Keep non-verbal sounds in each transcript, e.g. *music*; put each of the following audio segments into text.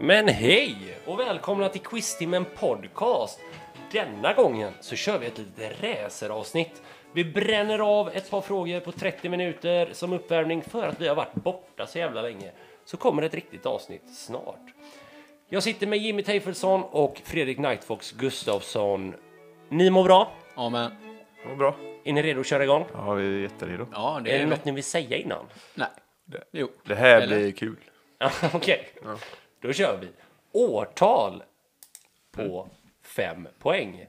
Men hej och välkomna till Quiztimmen Podcast. Denna gången så kör vi ett litet raceravsnitt. Vi bränner av ett par frågor på 30 minuter som uppvärmning för att vi har varit borta så jävla länge. Så kommer ett riktigt avsnitt snart. Jag sitter med Jimmy Teifelson och Fredrik Nightfox Gustafsson. Ni mår bra? Ja, men... Vad bra. Är ni redo att köra igång? Ja, vi är jätteredo. Ja, det Är det är... något ni vill säga innan? Nej. Jo. Det här Eller? blir kul. Ja, *laughs* Okej, då kör vi. Årtal på fem poäng.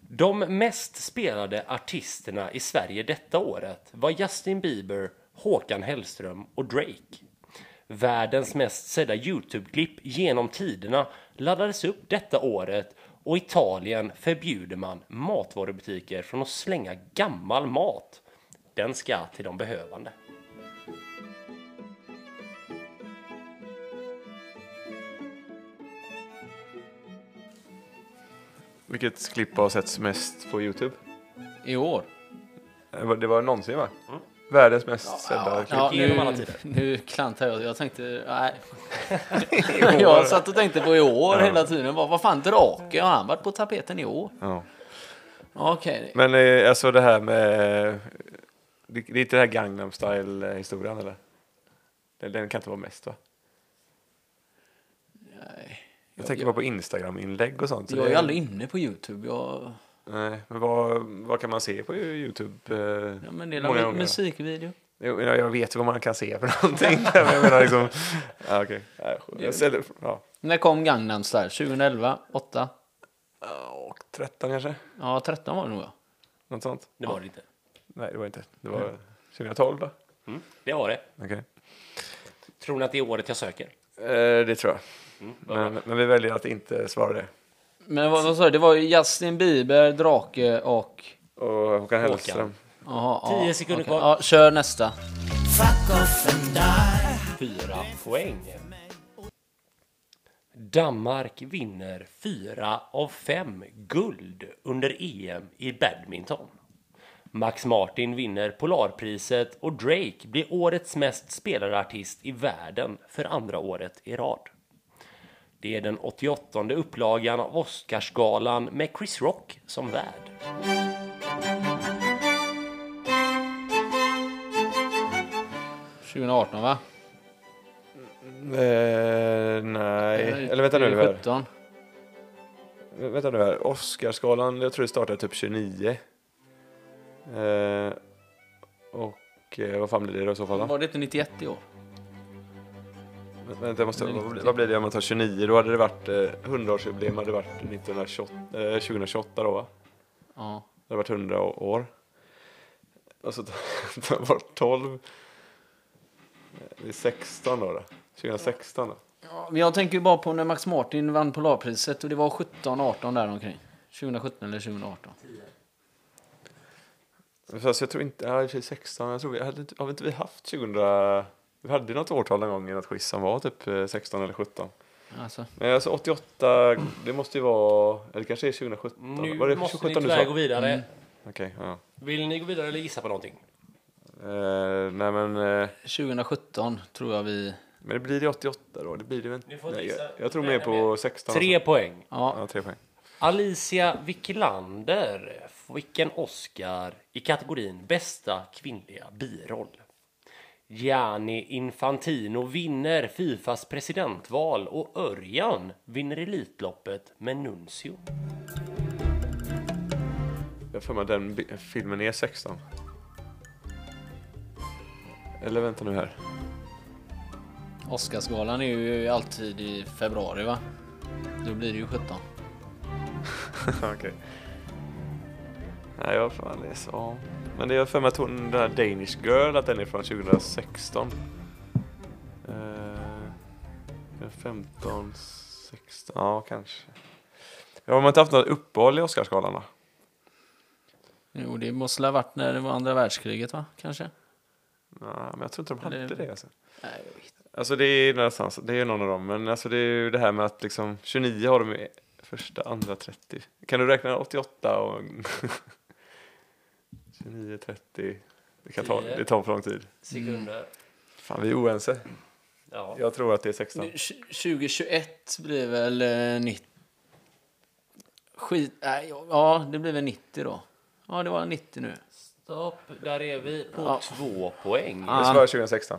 De mest spelade artisterna i Sverige detta året var Justin Bieber, Håkan Hellström och Drake. Världens mest sedda Youtube-klipp genom tiderna laddades upp detta året och i Italien förbjuder man matvarubutiker från att slänga gammal mat. Den ska till de behövande. Vilket klipp har setts mest på Youtube? I år. Det var, det var någonsin va? Världens mest sedda Mm. Ja, klipp. ja, Genom alla *laughs* nu, *laughs* tider. nu klantar jag. Jag tänkte... *laughs* Nej. jag satt och tänkte på i år hela tiden. Vad, vad fan, drake? Har han varit på tapeten i år? Ja. Okej. Men eh, alltså det här med... eh, Det, det är inte det här Gangnam style eh, historien eller? Den, den kan inte vara mest va? Nej. Jag tänker bara på Instagram-inlägg och sånt. så Jag är det- ju aldrig inne på Youtube. Jag... Nej, men vad, vad kan man se på Youtube? eh, Ja, men det är många någon gånger? musikvideo. Jo, jag jag vet ju vad man kan se för någonting. *laughs* men jag *laughs* menar liksom... Ja, okej. Nej, Jag ställer... Ja. När kom Gangnam Style? 2011? 8? Och 13 kanske? Ja, 13 var det nog. ja. Något sånt? Det var det inte. Nej, det var inte. Det var 2012 då? Mm, det var det. Okej. Tror ni att det är året jag söker? Eh, det tror jag. men, men vi väljer att inte svara det. Men vad, vad sa du? Det var ju Justin Bieber, drake och... Och Håkan Hellström. Jaha, ja, 10 sekunder okej. kvar. Ja, kör nästa. Fyra poäng. Danmark vinner fyra av fem guld under EM i badminton. Max Martin vinner Polarpriset och Drake blir årets mest spelade artist i världen för andra året i rad. Det är den 88 upplagan av Oscarsgalan med Chris Rock som värd. Ja. 2018, va? Eh, nej. Eller vänta nu. Här. 17. Vänta nu här. Oscarsgalan, jag tror det startade typ 29. Eh, och eh, vad fan blir det då i så fall? Då? Var det inte 91 i år? Vänta, jag måste, vad, blir- vad blir Mm. det om man tar 29? Då hade det varit eh, 100-årsjubileum, hade det varit 1928, eh, 2028 då va? Ja. Det har varit 100 å- år. Alltså, Och *laughs* så tar tar jag bort 12. Det är 16 då. då. 2016 då. Ja, men jag tänker ju bara på när Max Martin vann Polarpriset och det var 17-18 där omkring. 2017 eller 2018. Så jag tror inte, ja i och för sig 16, jag tror vi, hade, inte- har vi inte vi haft 2000, vi hade ju något årtal en gång i något quiz som var typ eh, 16 eller 17. Alltså, Men alltså 88, det måste ju vara, eller kanske är 2017. Nu var det måste ni 2017 du tyvärr sa? Mm. gå vidare. Okej, ja. Vill ni gå vidare eller gissa på någonting? Eh, nej men, eh, 2017 tror jag vi... men det blir det 88 då, det blir det väl Ni inte? får Nej, gissa. Jag, jag tror mer på 16. Tre poäng. Ja, Ja, tre poäng. Alicia Wiklander fick en Oscar i kategorin bästa kvinnliga biroll. Gianni Infantino vinner Fifas presidentval och Örjan vinner Elitloppet med Nuncio. Jag har för mig att den bi- filmen är 16. Eller vänta nu *laughs* här. Oscarsgalan är ju alltid i februari va? Då blir det ju 17. Okej. Nej, jag har för mig att det är så. Men det är för mig att hon, den här Danish Girl, att den är från 2016. Eh, 15, 16, ja kanske. Ja, har man inte haft något uppehåll i Oscarsgalan då? Jo, det måste ha varit när det var andra världskriget va? Kanske? Nej, men jag tror inte de hade Eller- det. Alltså. Nej, jag vet Alltså det är någonstans, det är någon av dem, men alltså det är ju det här med att liksom 29 har de ju första, andra, 30. Kan du räkna 88 och *laughs* 29, 30? Det, kan ta, Tio. det tar för lång tid. Sekunder. Fan, vi är oense. Ja. Jag tror att det är 16. Nu, tj- 2021 blir väl eh, 90... Skit... Nej, ja, ja, det blir väl 90 då. Ja, det var 90 nu. Stopp, där är vi på Ja. två poäng. Jag svarar 2016.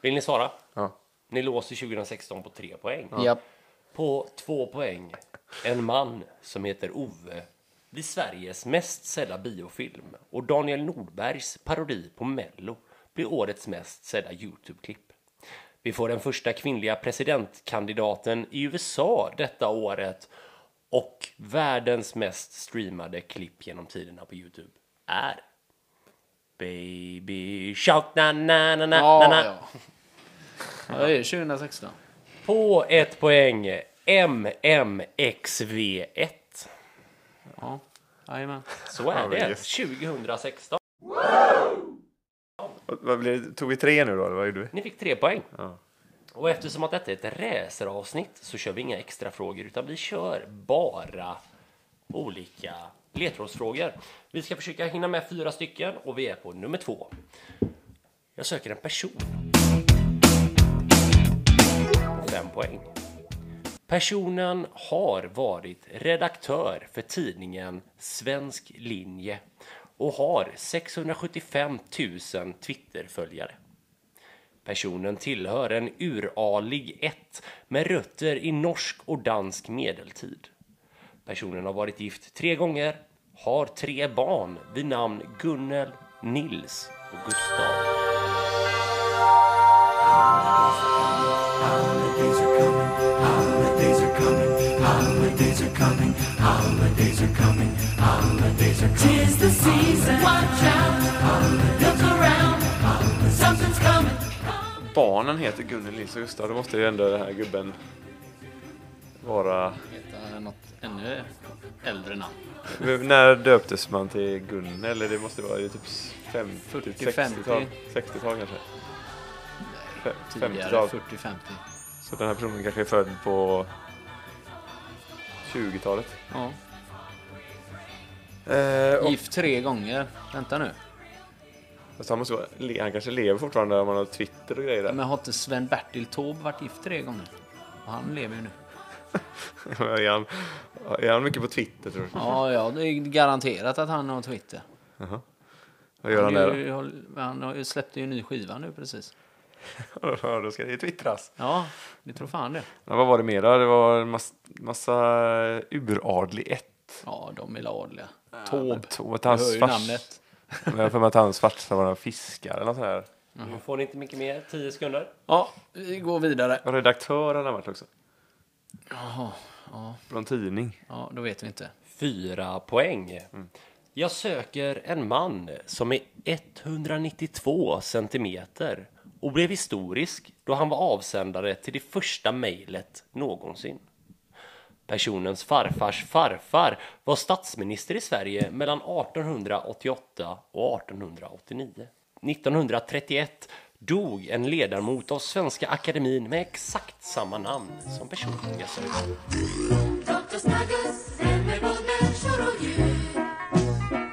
Vill ni svara? Ja. Ni låser 2016 på tre poäng. Japp. På två poäng. En man som heter Ove blir Sveriges mest sedda biofilm och Daniel Nordbergs parodi på Mello blir årets mest sedda Youtube-klipp. Vi får den första kvinnliga presidentkandidaten i USA detta året och världens mest streamade klipp genom tiderna på Youtube är Baby Shark na na na na na na Ja, ja. ja, det är 2016. På ett poäng. MMXV1. Ja, jajamän. Så är Ja, men det. just. 2016. Och Vad blir det? Tog vi tre nu då? Eller vad gjorde vi? Ni fick tre poäng. Ja. Och eftersom att detta är ett raceravsnitt så kör vi inga extra frågor utan vi kör bara olika ledtrådsfrågor. Vi ska försöka hinna med fyra stycken och vi är på nummer två. Jag söker en person. På fem poäng. Personen har varit redaktör för tidningen Svensk Linje och har 675 000 Twitterföljare. Personen tillhör en uralig ett med rötter i norsk och dansk medeltid. Personen har varit gift tre gånger, har tre barn vid namn Gunnel, Nils och Gustav. Holidays are coming, holidays are coming, holidays are coming, holidays are coming, holidays are coming. Tis the season. Watch out. Look around. Something's coming. Barnen heter Gunnel, Nils och Gustav. Då måste ju ändå den här gubben vara... Hitta eh, något ännu äldre namn. När döptes man till Gunnel? Eller det måste vara i typ 50, 40, 60-tal? 50. 60-tal kanske? Fe- typ. Tidigare 50-tal. 40-50. Så den här personen kanske är född på 20-talet? Ja. Eh, och, Gift tre gånger. Vänta nu. alltså han, måste vara, le- han kanske lever fortfarande om han har Twitter och grejer där. Men har inte Sven-Bertil Taube varit gift tre gånger? Och han lever ju nu. *laughs* är, han, är han mycket på Twitter tror du? Ja, ja, det är garanterat att han har Twitter. Vad gör han Han, där är då? ju- har- han har ju- släppte ju en ny skiva nu precis. *laughs* Ja, Då ska det ju twittras. Ja, det tror fan det. Ja, vad var det mer då? Det var en mass, massa uradlig ett. Ja, de är la adliga. Tåb. Tåb. Du Hans hör ju fars- namnet. Men jag har för mig att hans farsa var någon fiskare eller något sånt här. Nu får ni inte mycket mer, 10 sekunder. Ja, vi går vidare. Och Redaktör har han varit också. Jaha, ja, På någon tidning. ja, då vet vi inte. Fyra poäng. Jag söker en man som är 192 centimeter och blev historisk då han var avsändare till det första mejlet någonsin. Personens farfars farfar var statsminister i Sverige mellan 1888 och 1889. 1931 dog en ledamot av Svenska Akademin med exakt samma namn som personen jag söker. Dr. Snuggles, vänner och människor och djur.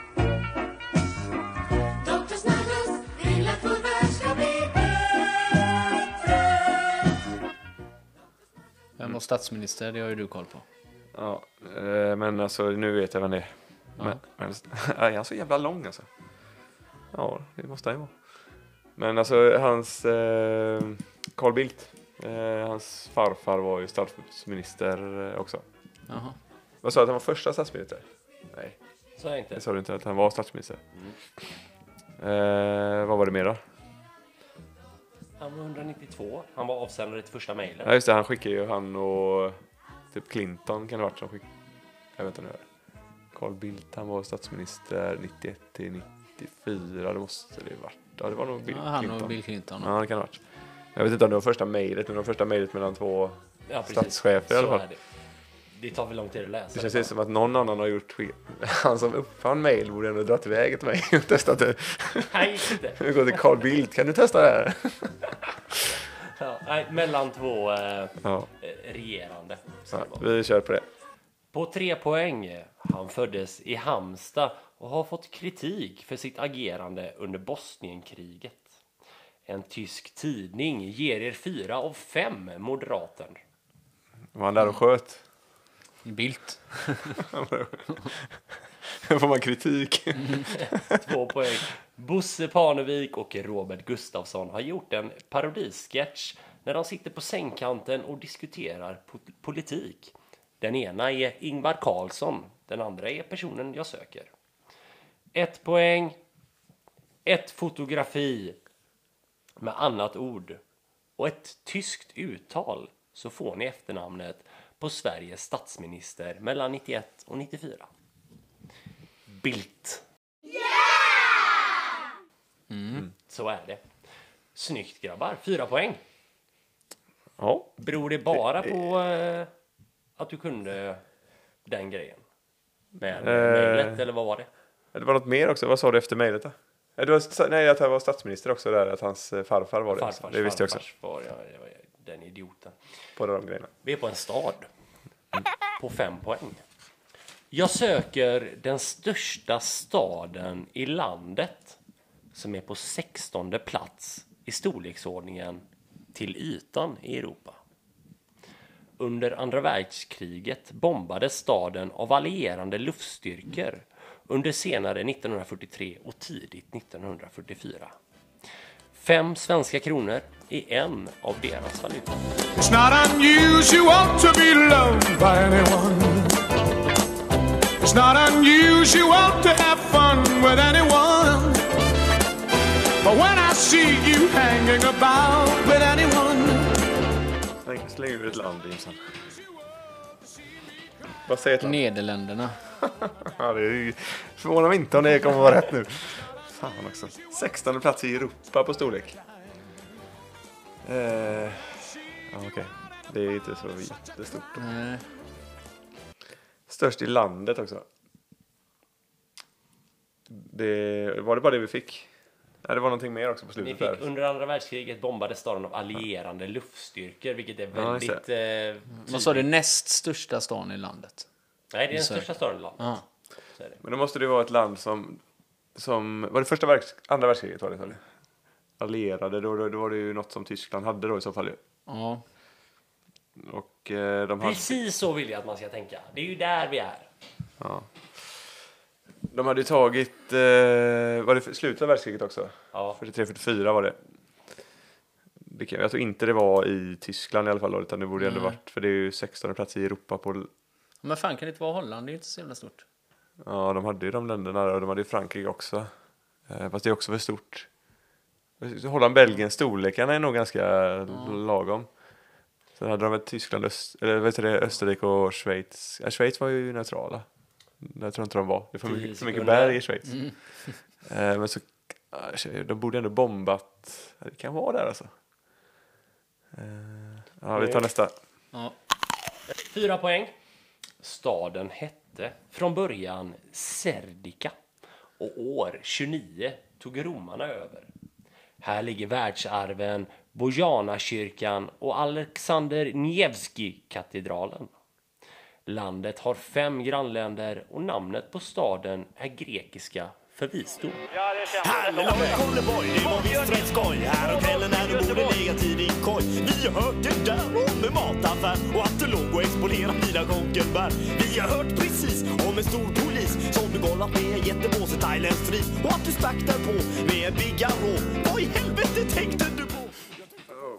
Dr. Snuggles vill att vår värld ska bli bättre. Vem var statsminister? Det har ju du koll på. Ja, eh, men alltså nu vet jag vem det är. Men, men *laughs* är han så jävla lång alltså? Ja, det måste han ju vara. Men alltså hans eh, Carl Bildt, eh, hans farfar var ju statsminister eh, också. Jaha. Vad sa du att han var första statsminister? Nej, Så Mm. är det inte. det sa du inte att han var statsminister. Eh, vad var det mer då? Han var 192. Han var avsändare till första mejlet. Ja just det, han skickade ju han och typ Clinton kan det ha varit som skickade. Jag vet inte nu. Carl Bildt han var statsminister 91 till 94. Det måste det ha varit. Ja det var nog Bill Ja, han Clinton. och Bill Clinton. Ja det kan det ha varit. Jag vet inte om det var första mejlet men det var första mejlet mellan två. Ja, precis. statschefer i alla Så fall. är Det. det tar väl lång tid att läsa. det Det känns bara. ju som att någon annan har gjort skit. *laughs* Han som uppfann mejl borde ändå dragit iväg ett mejl och testat det. Nej, *laughs* inte. Vi går till Carl Bildt, kan du testa det här? *laughs* Ja, nej, mellan två eh, Ja, regerande. ska ja det vara. vi kör på det. På tre poäng. Han föddes i Halmstad och har fått kritik för sitt agerande under Bosnienkriget. En tysk tidning ger er fyra av fem moderaten. Var han där och sköt? Bildt. Då *laughs* får man kritik. Två poäng. Bosse Parnevik och Robert Gustafsson har gjort en parodisketch när de sitter på sängkanten och diskuterar po- politik. Den ena är Ingvar Carlsson, den andra är personen jag söker. Ett poäng. Ett fotografi med annat ord och ett tyskt uttal så får ni efternamnet på Sveriges statsminister mellan 91 och 94. Bildt. Så är det. Snyggt grabbar, fyra poäng. Ja. Beror det bara på eh, att du kunde den grejen? Eh, Med mejlet eller vad var det? Det var något mer också. Vad sa du efter mejlet då? Eh, Det var, nej, att han var statsminister också där. Att hans eh, farfar var det. Farfars det visste jag också. farfars far, ja, det var den idioten. Båda de grejerna. Vi är på en stad. På fem poäng. Jag söker den största staden i landet som är på 16 plats i storleksordningen till ytan i Europa. Under andra världskriget bombades staden av allierande luftstyrkor under senare 1943 och tidigt 1944. Fem svenska kronor är en av deras valutor. It's not unusual to be loved by anyone. It's not unusual to have fun with anyone. But when I see you hanging about with anyone, Släng, släng ur ett land, Jimsan. Vad säger ett land? Nederländerna. Ja, det är ju- förvånar mig inte om det kommer att vara rätt nu. Fan också. 16 plats i Europa på storlek. Eh, ja, Okej, det är inte så jättestort. Nej. Störst i landet också. Det, var det bara det vi fick? Nej, det var någonting mer också på Ni slutet. fick där. under andra världskriget bombade staden av allierande luftstyrkor, vilket är Ja, just väldigt... eh, tydligt. Vad sa du? Näst största stan i landet. Nej, det är den Söker. största staden i landet. Ja. Så är det. Men då måste det vara ett land som... som var det första världs, andra världskriget? Var det, sa du? Allierade, då, då, då var det ju något som Tyskland hade då i så fall. ju. Ja. Och eh, de hade... Precis så vill jag att man ska tänka. Det är ju där vi är. De hade ju tagit, eh, var det för- slutet av världskriget också? Ja. 43-44 var det. Vilket- Jag tror inte det var i Tyskland i alla fall, då, utan det borde ändå varit, för det är ju 16 plats i Europa på, l- Men fan kan det inte vara Holland? Det är ju inte så jävla stort. ja de hade ju de länderna där, och de hade ju Frankrike också. Eh, fast det är också för stort. Holland, Belgien, storlekarna är nog ganska lagom. Sen hade de väl Tyskland, Öst, eller vet du det, Österrike och Schweiz. Ja, Schweiz var ju neutrala. Jag tror inte de var. Det är för Tio mycket, för mycket sekunder. berg i Schweiz. Eh, Men så, ah, tjej, de borde ändå bombat. Det kan vara där alltså. Eh, Ja, vi tar nästa. Ja. Fyra poäng. Staden hette från början Serdica och år 29 tog romarna över. Här ligger världsarven Bojanakyrkan och Alexander Nevskij-katedralen. Landet har fem grannländer och namnet på staden är grekiska för visdom. Halloj Trelleborg, det var visst rätt skoj Häromkvällen när du borde legat i din koj Vi har hört det där om en mataffär och att du låg och exponerade dina konkelbär Vi har hört precis om en stor polis som du golvat med jättepåse thailändsk ris och att du stack där på med en Big Arrow Vad i helvete tänkte du på?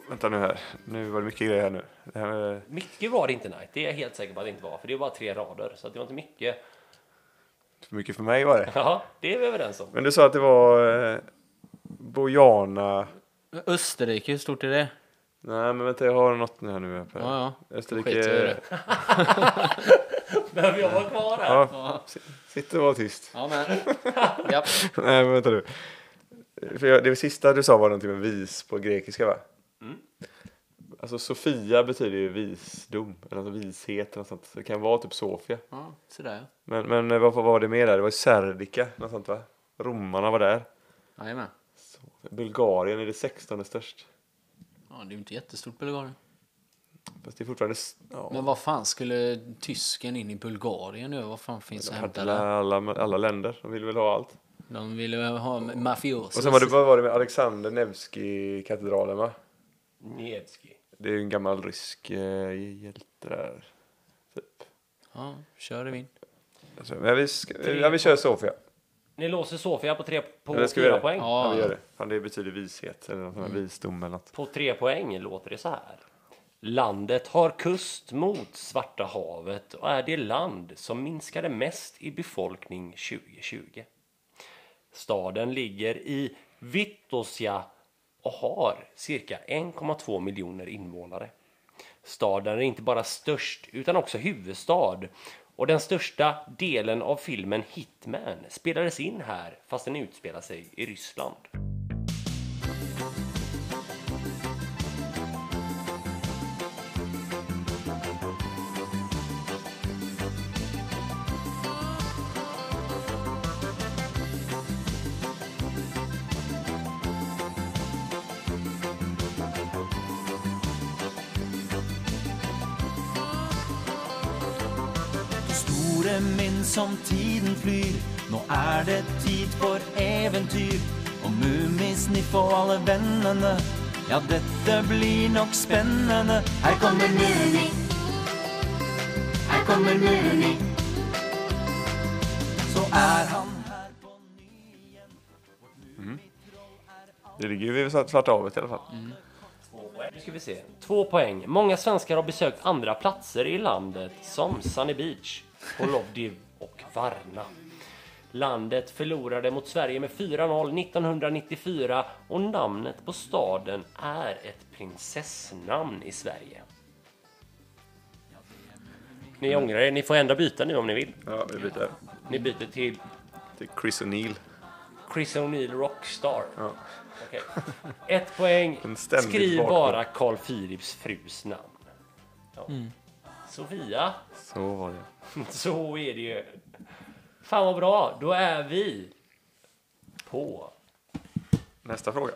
Vänta nu här. Nu var det mycket grejer här nu. Det här med, Mycket var det inte, nej. Det är jag helt säker på att det inte var, för det var bara tre rader, så att det var inte mycket. för mycket för mig var det. Ja, det är vi överens om. Men du sa att det var eh, Bojana... Österrike, hur stort är det? Nej, men vänta, jag har något nu här nu. Här. Ja, ja. Skit i Österrike... det. Behöver jag vara kvar här? Ja, si- sitt och var tyst. Ja, men. *laughs* Japp. *laughs* Nej, men vänta du. För jag, det sista du sa var någonting med vis på grekiska, va? Alltså Sofia betyder ju visdom, eller alltså vishet eller något sånt. Så det kan vara typ Sofia. Ja, sådär ja. Men, men eh, vad vad var det mer där? Det var ju Serdica, något sånt va? Romarna var där. Jajamän. Bulgarien är det 16 störst. Ja, det är ju inte jättestort Bulgarien. Fast det är fortfarande... s- Ja. Men vad fan skulle tysken in i Bulgarien nu? Vad fan finns att hämta eh, Alla, där? alla, alla länder, de vill väl ha allt. De ville ha mafiosos. Och sen var det, vad var det med Alexander Nevsky-katedralen va? Nevsky. Det är ju en gammal rysk eh, hjälte där. Typ. Ja, kör i vind. Alltså, men vi, ska, ja, vi kör Sofia. Ni låser Sofia på tre på Eller ska vi fyra göra det? poäng. Ja. Ja, vi gör det. Fan, det betyder vishet eller något, mm. visdom eller något. På tre poäng låter det så här. Landet har kust mot Svarta havet och är det land som minskade mest i befolkning 2020. Staden ligger i Vitosja och har cirka 1,2 miljoner invånare. Staden är inte bara störst utan också huvudstad och den största delen av filmen Hitman spelades in här fast den utspelar sig i Ryssland. Store min som tiden flyr Nå er det tid for eventyr Og Mummisniff og alle vennene Ja, dette blir nok spennende Her kommer Mummi Her kommer Mummi Så er han her på ny Det ligger ju vid Svarta havet i alla fall. Nu ska vi se. Två poäng. Många svenskar har besökt andra platser i landet som Sunny Beach, Plovdiv och Varna. Landet förlorade mot Sverige med 4-0 1994 och namnet på staden är ett prinsessnamn i Sverige. Ni ångrar er. Ni får ändå byta nu om ni vill. Ja, vi byter. Ni byter till Till Chris O'Neill. Chris O'Neill Rockstar. Okej. Ett poäng. En ständigt Skriv bakgrund. bara Carl Philips frus namn. Ja. Sofia, *laughs* Så var det. så är det ju. Fan vad bra, då är vi på... Nästa fråga.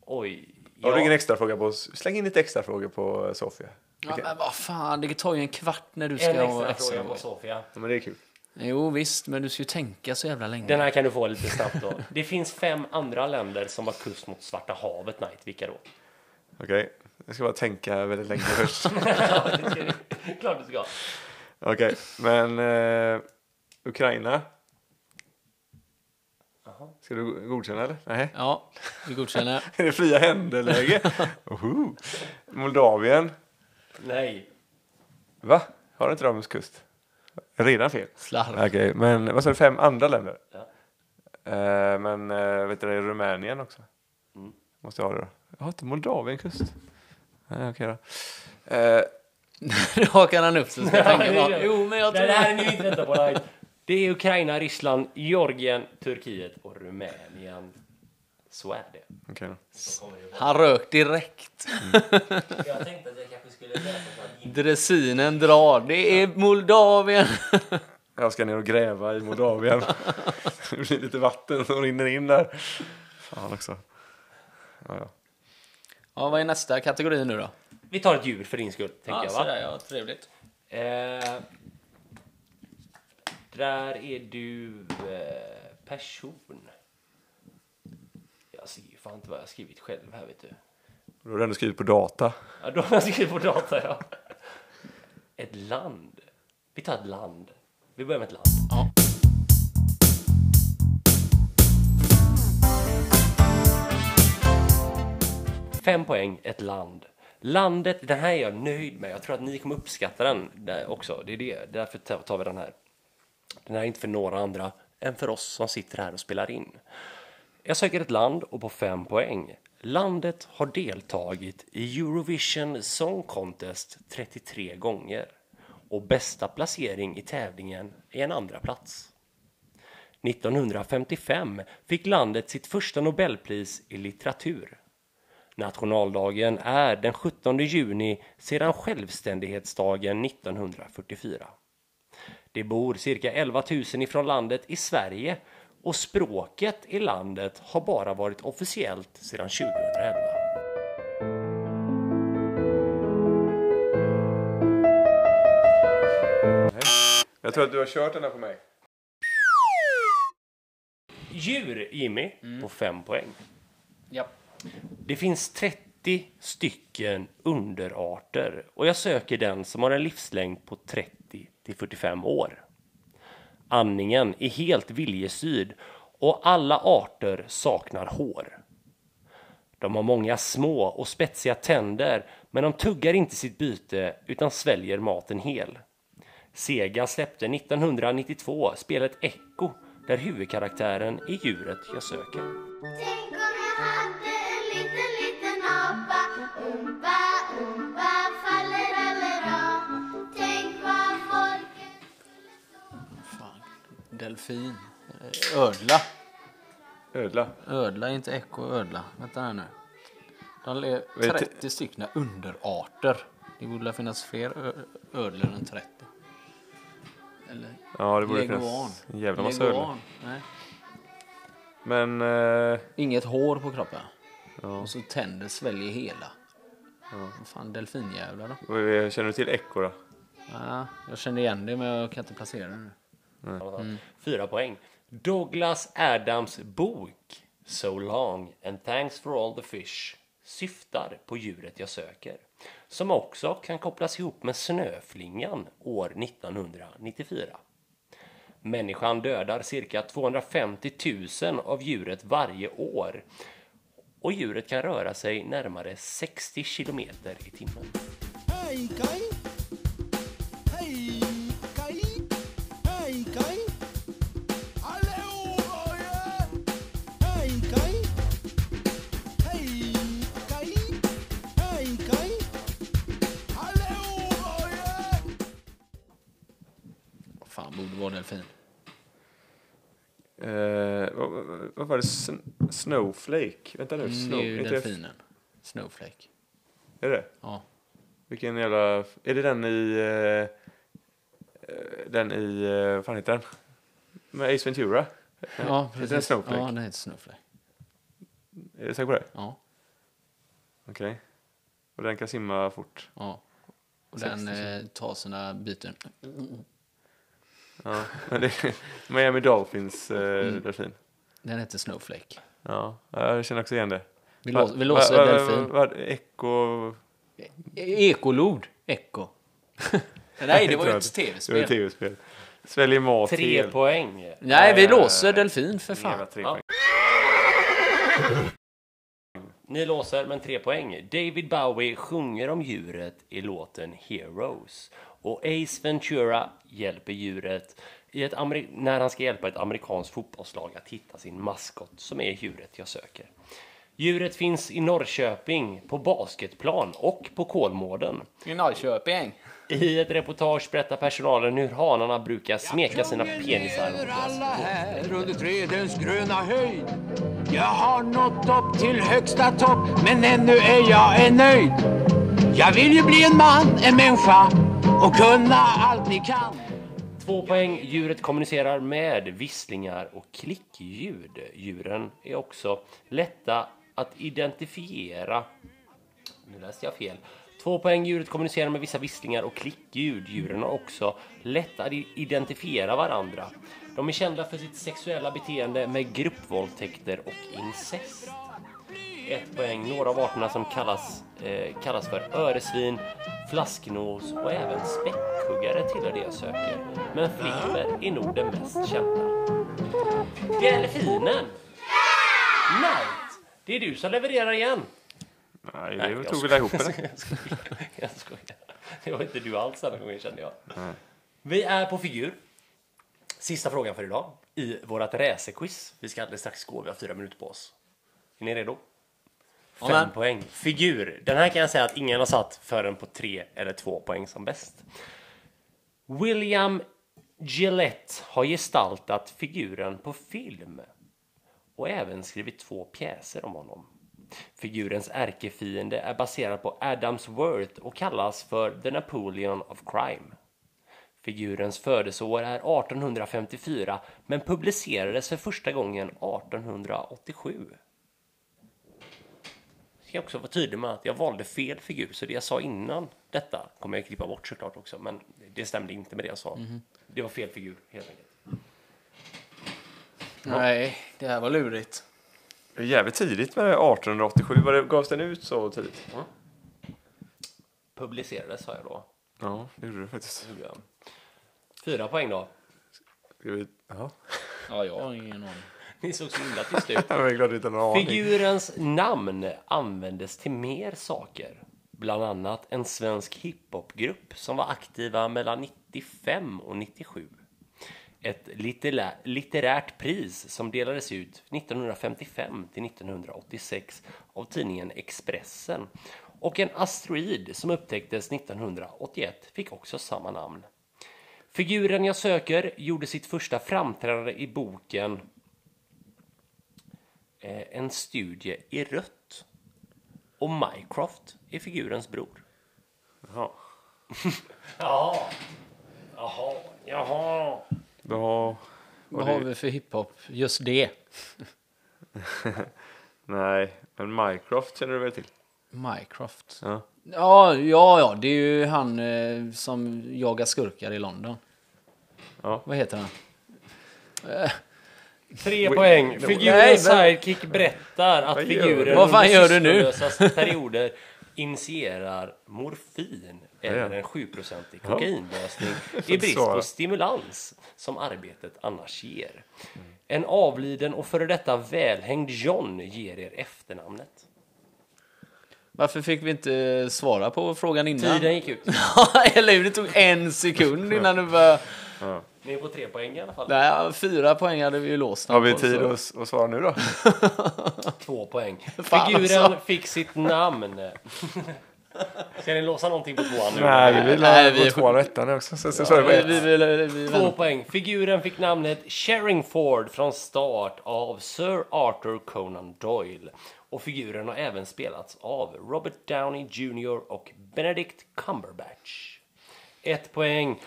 Oj. Har ja. du ingen extra fråga på oss? Släng in lite extra frågor på eh, Sofia. Ja, men vad fan, det tar ju en kvart när du ska en ha extra extra fråga på Sofia. Ja, men det är kul. Jo visst, men du ska ju tänka så jävla länge. Den här kan du få lite snabbt då. Det finns fem andra länder som har kust mot Svarta havet, Knight. Vilka då? *laughs* Okej, jag ska bara tänka väldigt länge först. Ja, det ska du. Klart du ska. Okej, men eh, Ukraina? Ska du godkänna eller? Nej. *laughs* Ja, *laughs* vi godkänner. Är det fria händerläge? Oho. Moldavien? Nej. Va? Har inte de kust? Redan fel. Okej, Slarv. men vad sa du, fem andra länder? Ja. Eh, men eh, vet du, det är Rumänien också. Måste jag ha det då. Jag har inte Moldavien kust. Nej, okej då. Eh, *laughs* Nu hakar han upp sig. Ska jag tänka bara, jo, men jag Nej, tror... Det här är ni inte vänta på. Right? Det är Ukraina, Ryssland, Georgien, Turkiet och Rumänien. Så är det. okej då. Han rök direkt. Jag tänkte att jag kanske skulle läsa Dressinen drar. Det är Moldavien. *laughs* Jag ska ner och gräva i *laughs* Moldavien. det blir lite vatten som rinner in där. Fan också. Ja, ja. Ja, vad är nästa kategori nu då? Vi tar ett djur för din skull, tänker jag. Va? sådär, ja, trevligt. Eh, där är du eh, person. Jag ser ju fan inte vad jag har skrivit själv här, vet du. Då har du ändå skrivit på data. Ja, då har jag skrivit på data, ja. Ett land. Vi tar ett land. Vi börjar med ett land. Ja. Fem poäng, ett land. Landet, den här är jag nöjd med. Jag tror att ni kommer uppskatta den där också. Det är det. Därför tar tar vi den här. Den här är inte för några andra än för oss som sitter här och spelar in. Jag söker ett land och på fem poäng. Landet har deltagit i Eurovision Song Contest 33 gånger och bästa placering i tävlingen är en andra plats. 1955 fick landet sitt första Nobelpris i litteratur. Nationaldagen är den 17 juni sedan självständighetsdagen 1944. Det bor cirka 11 000 ifrån landet i Sverige och språket i landet har bara varit officiellt sedan 2011. Jag tror att du har kört den här på mig. djur, Jimmy, på fem poäng. Ja. Det finns 30 stycken underarter och jag söker den som har en livslängd på 30 till 45 år. Andningen är helt viljestyrd och alla arter saknar hår. De har många små och spetsiga tänder men de tuggar inte sitt byte utan sväljer maten hel. Sega släppte 1992 spelet Echo där huvudkaraktären är djuret jag söker. Tänk om jag hade en liten, liten apa Umpa, umpa, faller allera Tänk vad folket Fan. Delfin. Eh, Ödla. Ödla. Ödla, inte ekorre, ödla. Vänta här nu. De le- Vet- 30 stycken underarter. Det borde finnas fler ö- ödlor än 30. Eller Ja, det borde leguan. finnas en jävla massa ödlor. Leguan, Nej. Men... Eh, Inget hår på kroppen. Och så tänder sväljer hela. Vad fan, delfinjävlar då? eh, känner du till ekorre? Ja, jag kände igen det men jag kan inte placera det nu. Fyra poäng. Douglas Adams bok So long and thanks for all the fish syftar på djuret jag söker som också kan kopplas ihop med snöflingan år 1994. Människan dödar cirka 250 000 av djuret varje år och djuret kan röra sig närmare 60 kilometer i timmen. Fan, borde vara delfin. Eh, vad, vad- vad var det? Sn- Snowflake? Vänta nu. Mm, Snow, det är ju inte- delfinen. Snowflake. Är det? Ja. Vilken jävla... Är det den i... Eh, eh, den i... Eh, vad fan heter den? Med Ace Ventura? Ja, Heter den precis. Snowflake? Ja, den heter Snowflake. Är du säker på det? Ja, Okej. Och den kan simma fort? ja. Och den eh, tar sina byten. Ja. Men det är Miami Dolphins eh, Mm. delfin. Den heter Snowflake. Ja, jag känner också igen det. Vi, Va- lås, vi låser va- va- delfin. va- va- Echo... E- Ekolod. Eko. *laughs* Nej, det var ju ett Det var ett tv-spel. tv-spel. Sväljer mat Tre hel. poäng. Nej, vi låser delfin för Jävla fan. tre Ja. poäng. Ni låser, men tre poäng. David Bowie sjunger om djuret i låten Heroes. Och Ace Ventura hjälper djuret i ett ameri- när han ska hjälpa ett amerikanskt fotbollslag att hitta sin maskot som är djuret jag söker. Djuret finns i Norrköping, på basketplan och på Kolmården. I Norrköping. I ett reportage berättar personalen hur hanarna brukar smeka sina penisar mot gräset. här under trädens gröna höjd. Jag har nått upp till högsta topp, men ännu är jag ej nöjd. Jag vill ju bli en man, en människa och kunna allt ni kan. Två poäng. Djuret kommunicerar med visslingar och klickljud. Djuren är också lätta att identifiera. Nu läste jag fel. Två poäng. Djuret kommunicerar med vissa visslingar och klickljud. Djuren har också lätt att i- identifiera varandra. De är kända för sitt sexuella beteende med gruppvåldtäkter och incest. Ett poäng. Några av arterna som kallas, eh, kallas för öresvin, flasknos och även späckhuggare tillhör det jag söker. Men flipper är nog den mest kända. Delfinen! Night! Det är du som levererar igen. Nej, Nej, det jag tog väl ihop det. Jag skojar. Jag skojar. Det var inte du alls den här gången kände jag. Vi är på figur. Sista frågan för idag i vårt racerquiz. Vi ska alldeles strax gå, vi har fyra minuter på oss. Är ni redo? Fem Amen. poäng. Figur. Den här kan jag säga att ingen har satt förrän på tre eller två poäng som bäst. William Gillette har gestaltat figuren på film och även skrivit två pjäser om honom. Figurens ärkefiende är baserad på Adams Worth och kallas för The Napoleon of Crime. Figurens födelseår är 1854 men publicerades för första gången 1887. Ska jag också vara tydlig med att jag valde fel figur så det jag sa innan detta kommer jag klippa bort såklart också men det stämde inte med det jag sa. Det var fel figur helt enkelt. Nej, det här var lurigt. Det är Jävligt tidigt med det här 1887. Var det, gavs den ut så tidigt? Publicerades sa jag då. Ja, det gjorde det faktiskt. Gjorde jag. Fyra poäng då. Ska vi... Ja. *laughs* Ja, jag har ingen aning. Ni såg så himla tysta ut. Jag är glad att du inte har någon aning. Figurens namn användes till mer saker. Bland annat en svensk hiphopgrupp som var aktiva mellan 95 och 97. Ett litterä- litterärt pris som delades ut 1955 till 1986 av tidningen Expressen. Och en asteroid som upptäcktes 1981 fick också samma namn. Figuren jag söker gjorde sitt första framträdande i boken eh, en studie i rött. Och Mycroft är figurens bror. Jaha. Ja. Jaha. Jaha. Då... Vad har vi för hiphop? Just det. Nej, men Minecraft känner du väl till? Mycroft. Ja. Ja, ja, ja, det är ju han eh, som jagar skurkar i London. Ja. Vad heter han? Tre poäng. Figurens Nej, sidekick berättar att Vad gör du? figuren Vad fan gör du nu? sysslolösas perioder initierar morfin eller Ja. en 7-procentig kokainlösning i brist på Svara. stimulans som arbetet annars ger. En avliden och före detta välhängd John ger er efternamnet. Varför fick vi inte eh, svara på frågan innan? Tiden gick ut. *laughs* Eller hur? Det tog en sekund innan du började... Ni är på tre poäng i alla fall. Nej, fyra poäng hade vi ju låst. Har vi på, tid så- att, s- att svara nu då? Två poäng. *laughs* Fan Figuren alltså. fick sitt *laughs* namn. Ska ni låsa någonting på tvåan nu? Nej, vi vill Nej, ha vi- på tvåan och ettan också. Så, så, så, är det bara Vi, ett. vi, vi, vi, vi, Två poäng. Figuren fick namnet Sherringford från start av Sir Arthur Conan Doyle. Och figuren har även spelats av Robert Downey Jr och Benedict Cumberbatch. Ett *laughs* poäng.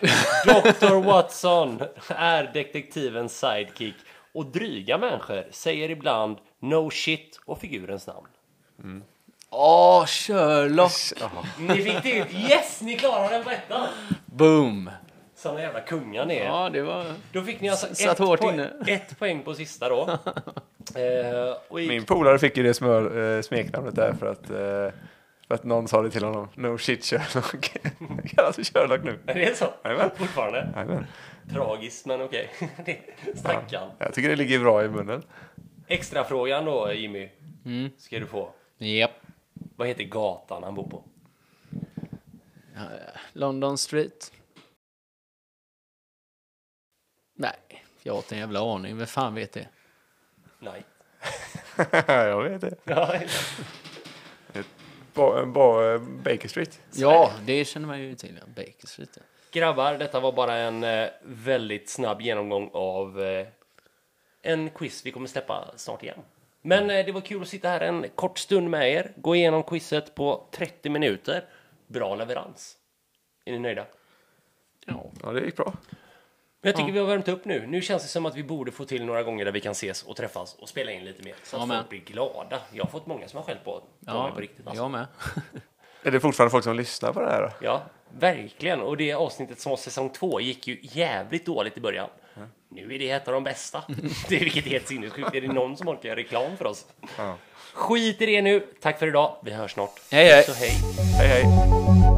Dr. Watson är detektivens sidekick och dryga människor säger ibland no shit och figurens namn. Åh, Sherlock! Ni fick det ut! Yes! Ni klarade den på ettan! Boom! Såna jävla kungar ni är. Ja, det var... Då fick ni alltså S- satt ett, hårt poäng, inne. ett poäng på sista då. *laughs* eh, och i, Min polare fick ju det smör, eh, smeknamnet där för att, eh, för att någon sa det till honom. No shit Sherlock. *laughs* Jag kallas för Sherlock nu. Är det så? Jajamän. Fortfarande? Jajamän. Tragiskt, men okej. *laughs* Det- Stackarn. Jag tycker det ligger bra i munnen. Extra frågan då, Jimmy. Mm. Ska du få. Japp. Vad heter gatan han bor på? London Street. Nej, jag har inte en jävla aning. Vem fan vet det? *laughs* Nej. *laughs* jag vet det. Ba, ba, Baker Street. Ja, det känner man ju till. ja. Baker Street. ja. Grabbar, detta var bara en eh, väldigt snabb genomgång av eh, en quiz vi kommer släppa snart igen. Men eh, det var kul att sitta här en kort stund med er, gå igenom quizet på 30 minuter. Bra leverans. Är ni nöjda? Ja, det gick bra. Men jag tycker vi har värmt upp nu. Nu känns det som att vi borde få till några gånger där vi kan ses och träffas och spela in lite mer. Så att Amen. folk blir glada. Jag har fått många som har skällt på, på mig Ja, på riktigt. Alltså. jag med. Är det fortfarande folk som lyssnar på det här då? Ja, verkligen. Och det avsnittet som var säsong två gick ju jävligt dåligt i början. Nu är det ett av de bästa. *laughs* Det är vilket är helt sinnessjukt. Är det någon som orkar göra reklam för oss? Skit i det nu. Tack för idag. Vi hörs snart. Hej, hej. Så hej. Hej, hej.